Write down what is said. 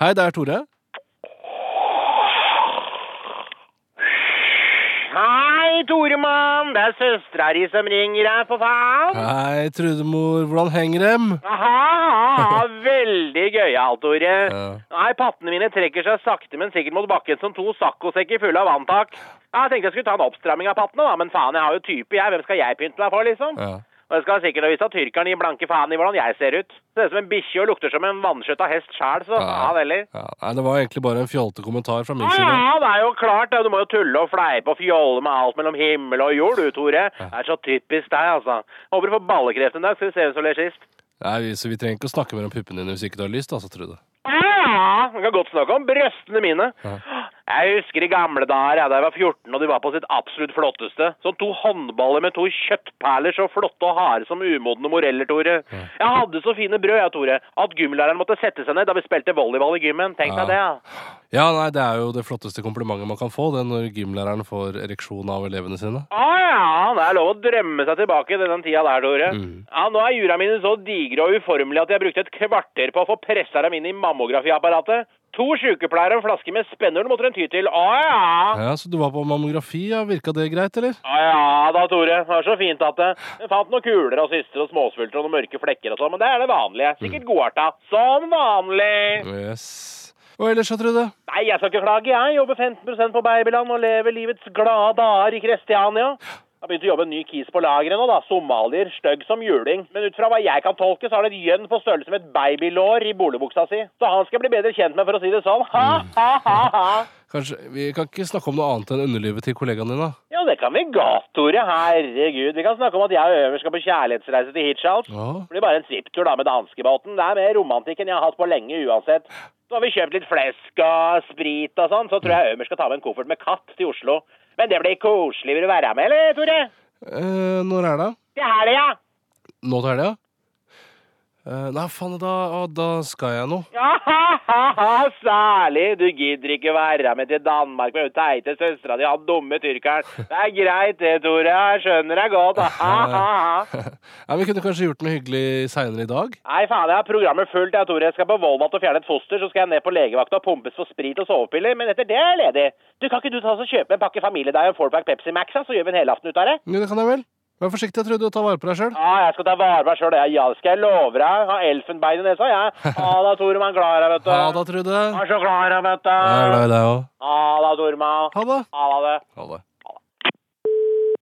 Hei, det er Tore. Hei, Toremann. Det er søstera di som ringer her, for faen. Hei, Trudemor. Hvordan henger dem? Aha, veldig gøyalt, Tore. Ja. Nei, pattene mine trekker seg sakte, men sikkert mot bakken som to saccosekker fulle av vanntak. Ja, Jeg tenkte jeg skulle ta en oppstramming av pattene, da, men faen, jeg har jo type, jeg. Hvem skal jeg pynte meg for, liksom? Ja. Og jeg skal sikkert ha vist at tyrkeren gir blanke faen i hvordan jeg ser ut. Ser ut som en bikkje og lukter som en vanskjøtta hest sjæl, så ja vel. Ja, nei, det var egentlig bare en fjolte kommentar fra min Ja, side. ja, det er jo klart. det. Du må jo tulle og fleipe og fjolle med alt mellom himmel og jord, du, Tore. Det er så typisk deg, altså. Håper du får ballekreft en dag, skal vi se hvem som ler sist. Nei, vi- så vi trenger ikke å snakke mer om puppene dine hvis ikke du har lyst, altså, Trude. Ja, vi kan godt snakke om brøstene mine. Jeg husker i gamle dager, ja, da jeg var 14 og de var på sitt absolutt flotteste. Sånn to håndballer med to kjøttperler så flotte og harde som umodne moreller, Tore. Jeg hadde så fine brød, jeg, Tore, at gymlæreren måtte sette seg ned da vi spilte volleyball i gymmen. Tenk deg det, ja. Ja, nei, det er jo det flotteste komplimentet man kan få, det er når gymlæreren får ereksjon av elevene sine. Å Ah, ja, det er lov å drømme seg tilbake til den tida der, Tore. Ja, Nå er jura mine så digre og uformelige at jeg brukte et kvarter på å få pressa dem inn i mammografiapparatet. To sykepleiere og en flaske med spennhull måtte de ty til. Å ja. Ja, Så du var på mammografi, ja. Virka det greit, eller? Å ja da, Tore. Det var så fint at det Jeg fant noen kuler og syster og småsvulter og noen mørke flekker og sånn, men det er det vanlige. Sikkert godarta. Som vanlig. Yes. Og ellers, ja, Trude? Nei, jeg skal ikke klage. Jeg jobber 15 på babyland og lever livets glade dager i Kristiania. Jeg har begynt å jobbe en ny kis på lageret nå, da. Somalier, stygg som juling. Men ut fra hva jeg kan tolke, så har det et gjønn på størrelse med et babylår i boligbuksa si. Så han skal bli bedre kjent med, for å si det sånn. Ha, ha, ha, ha. Kanskje, Vi kan ikke snakke om noe annet enn underlivet til kollegaen din, da? Ja, det kan vi godt, Tore. Herregud. Vi kan snakke om at jeg og Øver skal på kjærlighetsreise til Hitchhouse. Ja. Det blir bare en svipptur da med danskebåten. Det er mer romantikk enn jeg har hatt på lenge uansett. Så har vi kjøpt litt flesk og sprit og sånn, så tror jeg Ømer skal ta med en koffert med katt til Oslo. Men det blir koselig. Vil du være med, eller, Tore? Eh, når er det? Til helga. Nå til helga? Eh, nei, faen, da, å, da skal jeg nå. Ja, ha, ha, ha, særlig. Du gidder ikke være med til Danmark med hun teite søstera di, han dumme tyrkeren. Det er greit det, Tore. Jeg skjønner deg godt. Ha, ha, ha. Nei, Vi kunne kanskje gjort noe hyggelig seinere i dag? Nei, faen, jeg har programmet fullt. Jeg tror jeg skal på Volvat og fjerne et foster, så skal jeg ned på legevakta og pumpes for sprit og sovepiller, men etter det er jeg ledig. Du, kan ikke du ta oss og kjøpe en pakke familiedeig og en fourpack Pepsi Max, da, så gjør vi en helaften ut av det? Jo, det kan jeg vel. Vær forsiktig, jeg Trude, og ta vare på deg sjøl. Ja, jeg skal ta vare på meg sjøl, jeg. Ja, det skal jeg love deg. Ha elfenbein i nesa, jeg. Ha da, Toremann. Glad i deg, vet du. Ha det, Trude. Jeg er så glad i deg, vet Jeg er du. glad i deg òg. Ha da, Toremann. Ha det. Ha det. Ha det.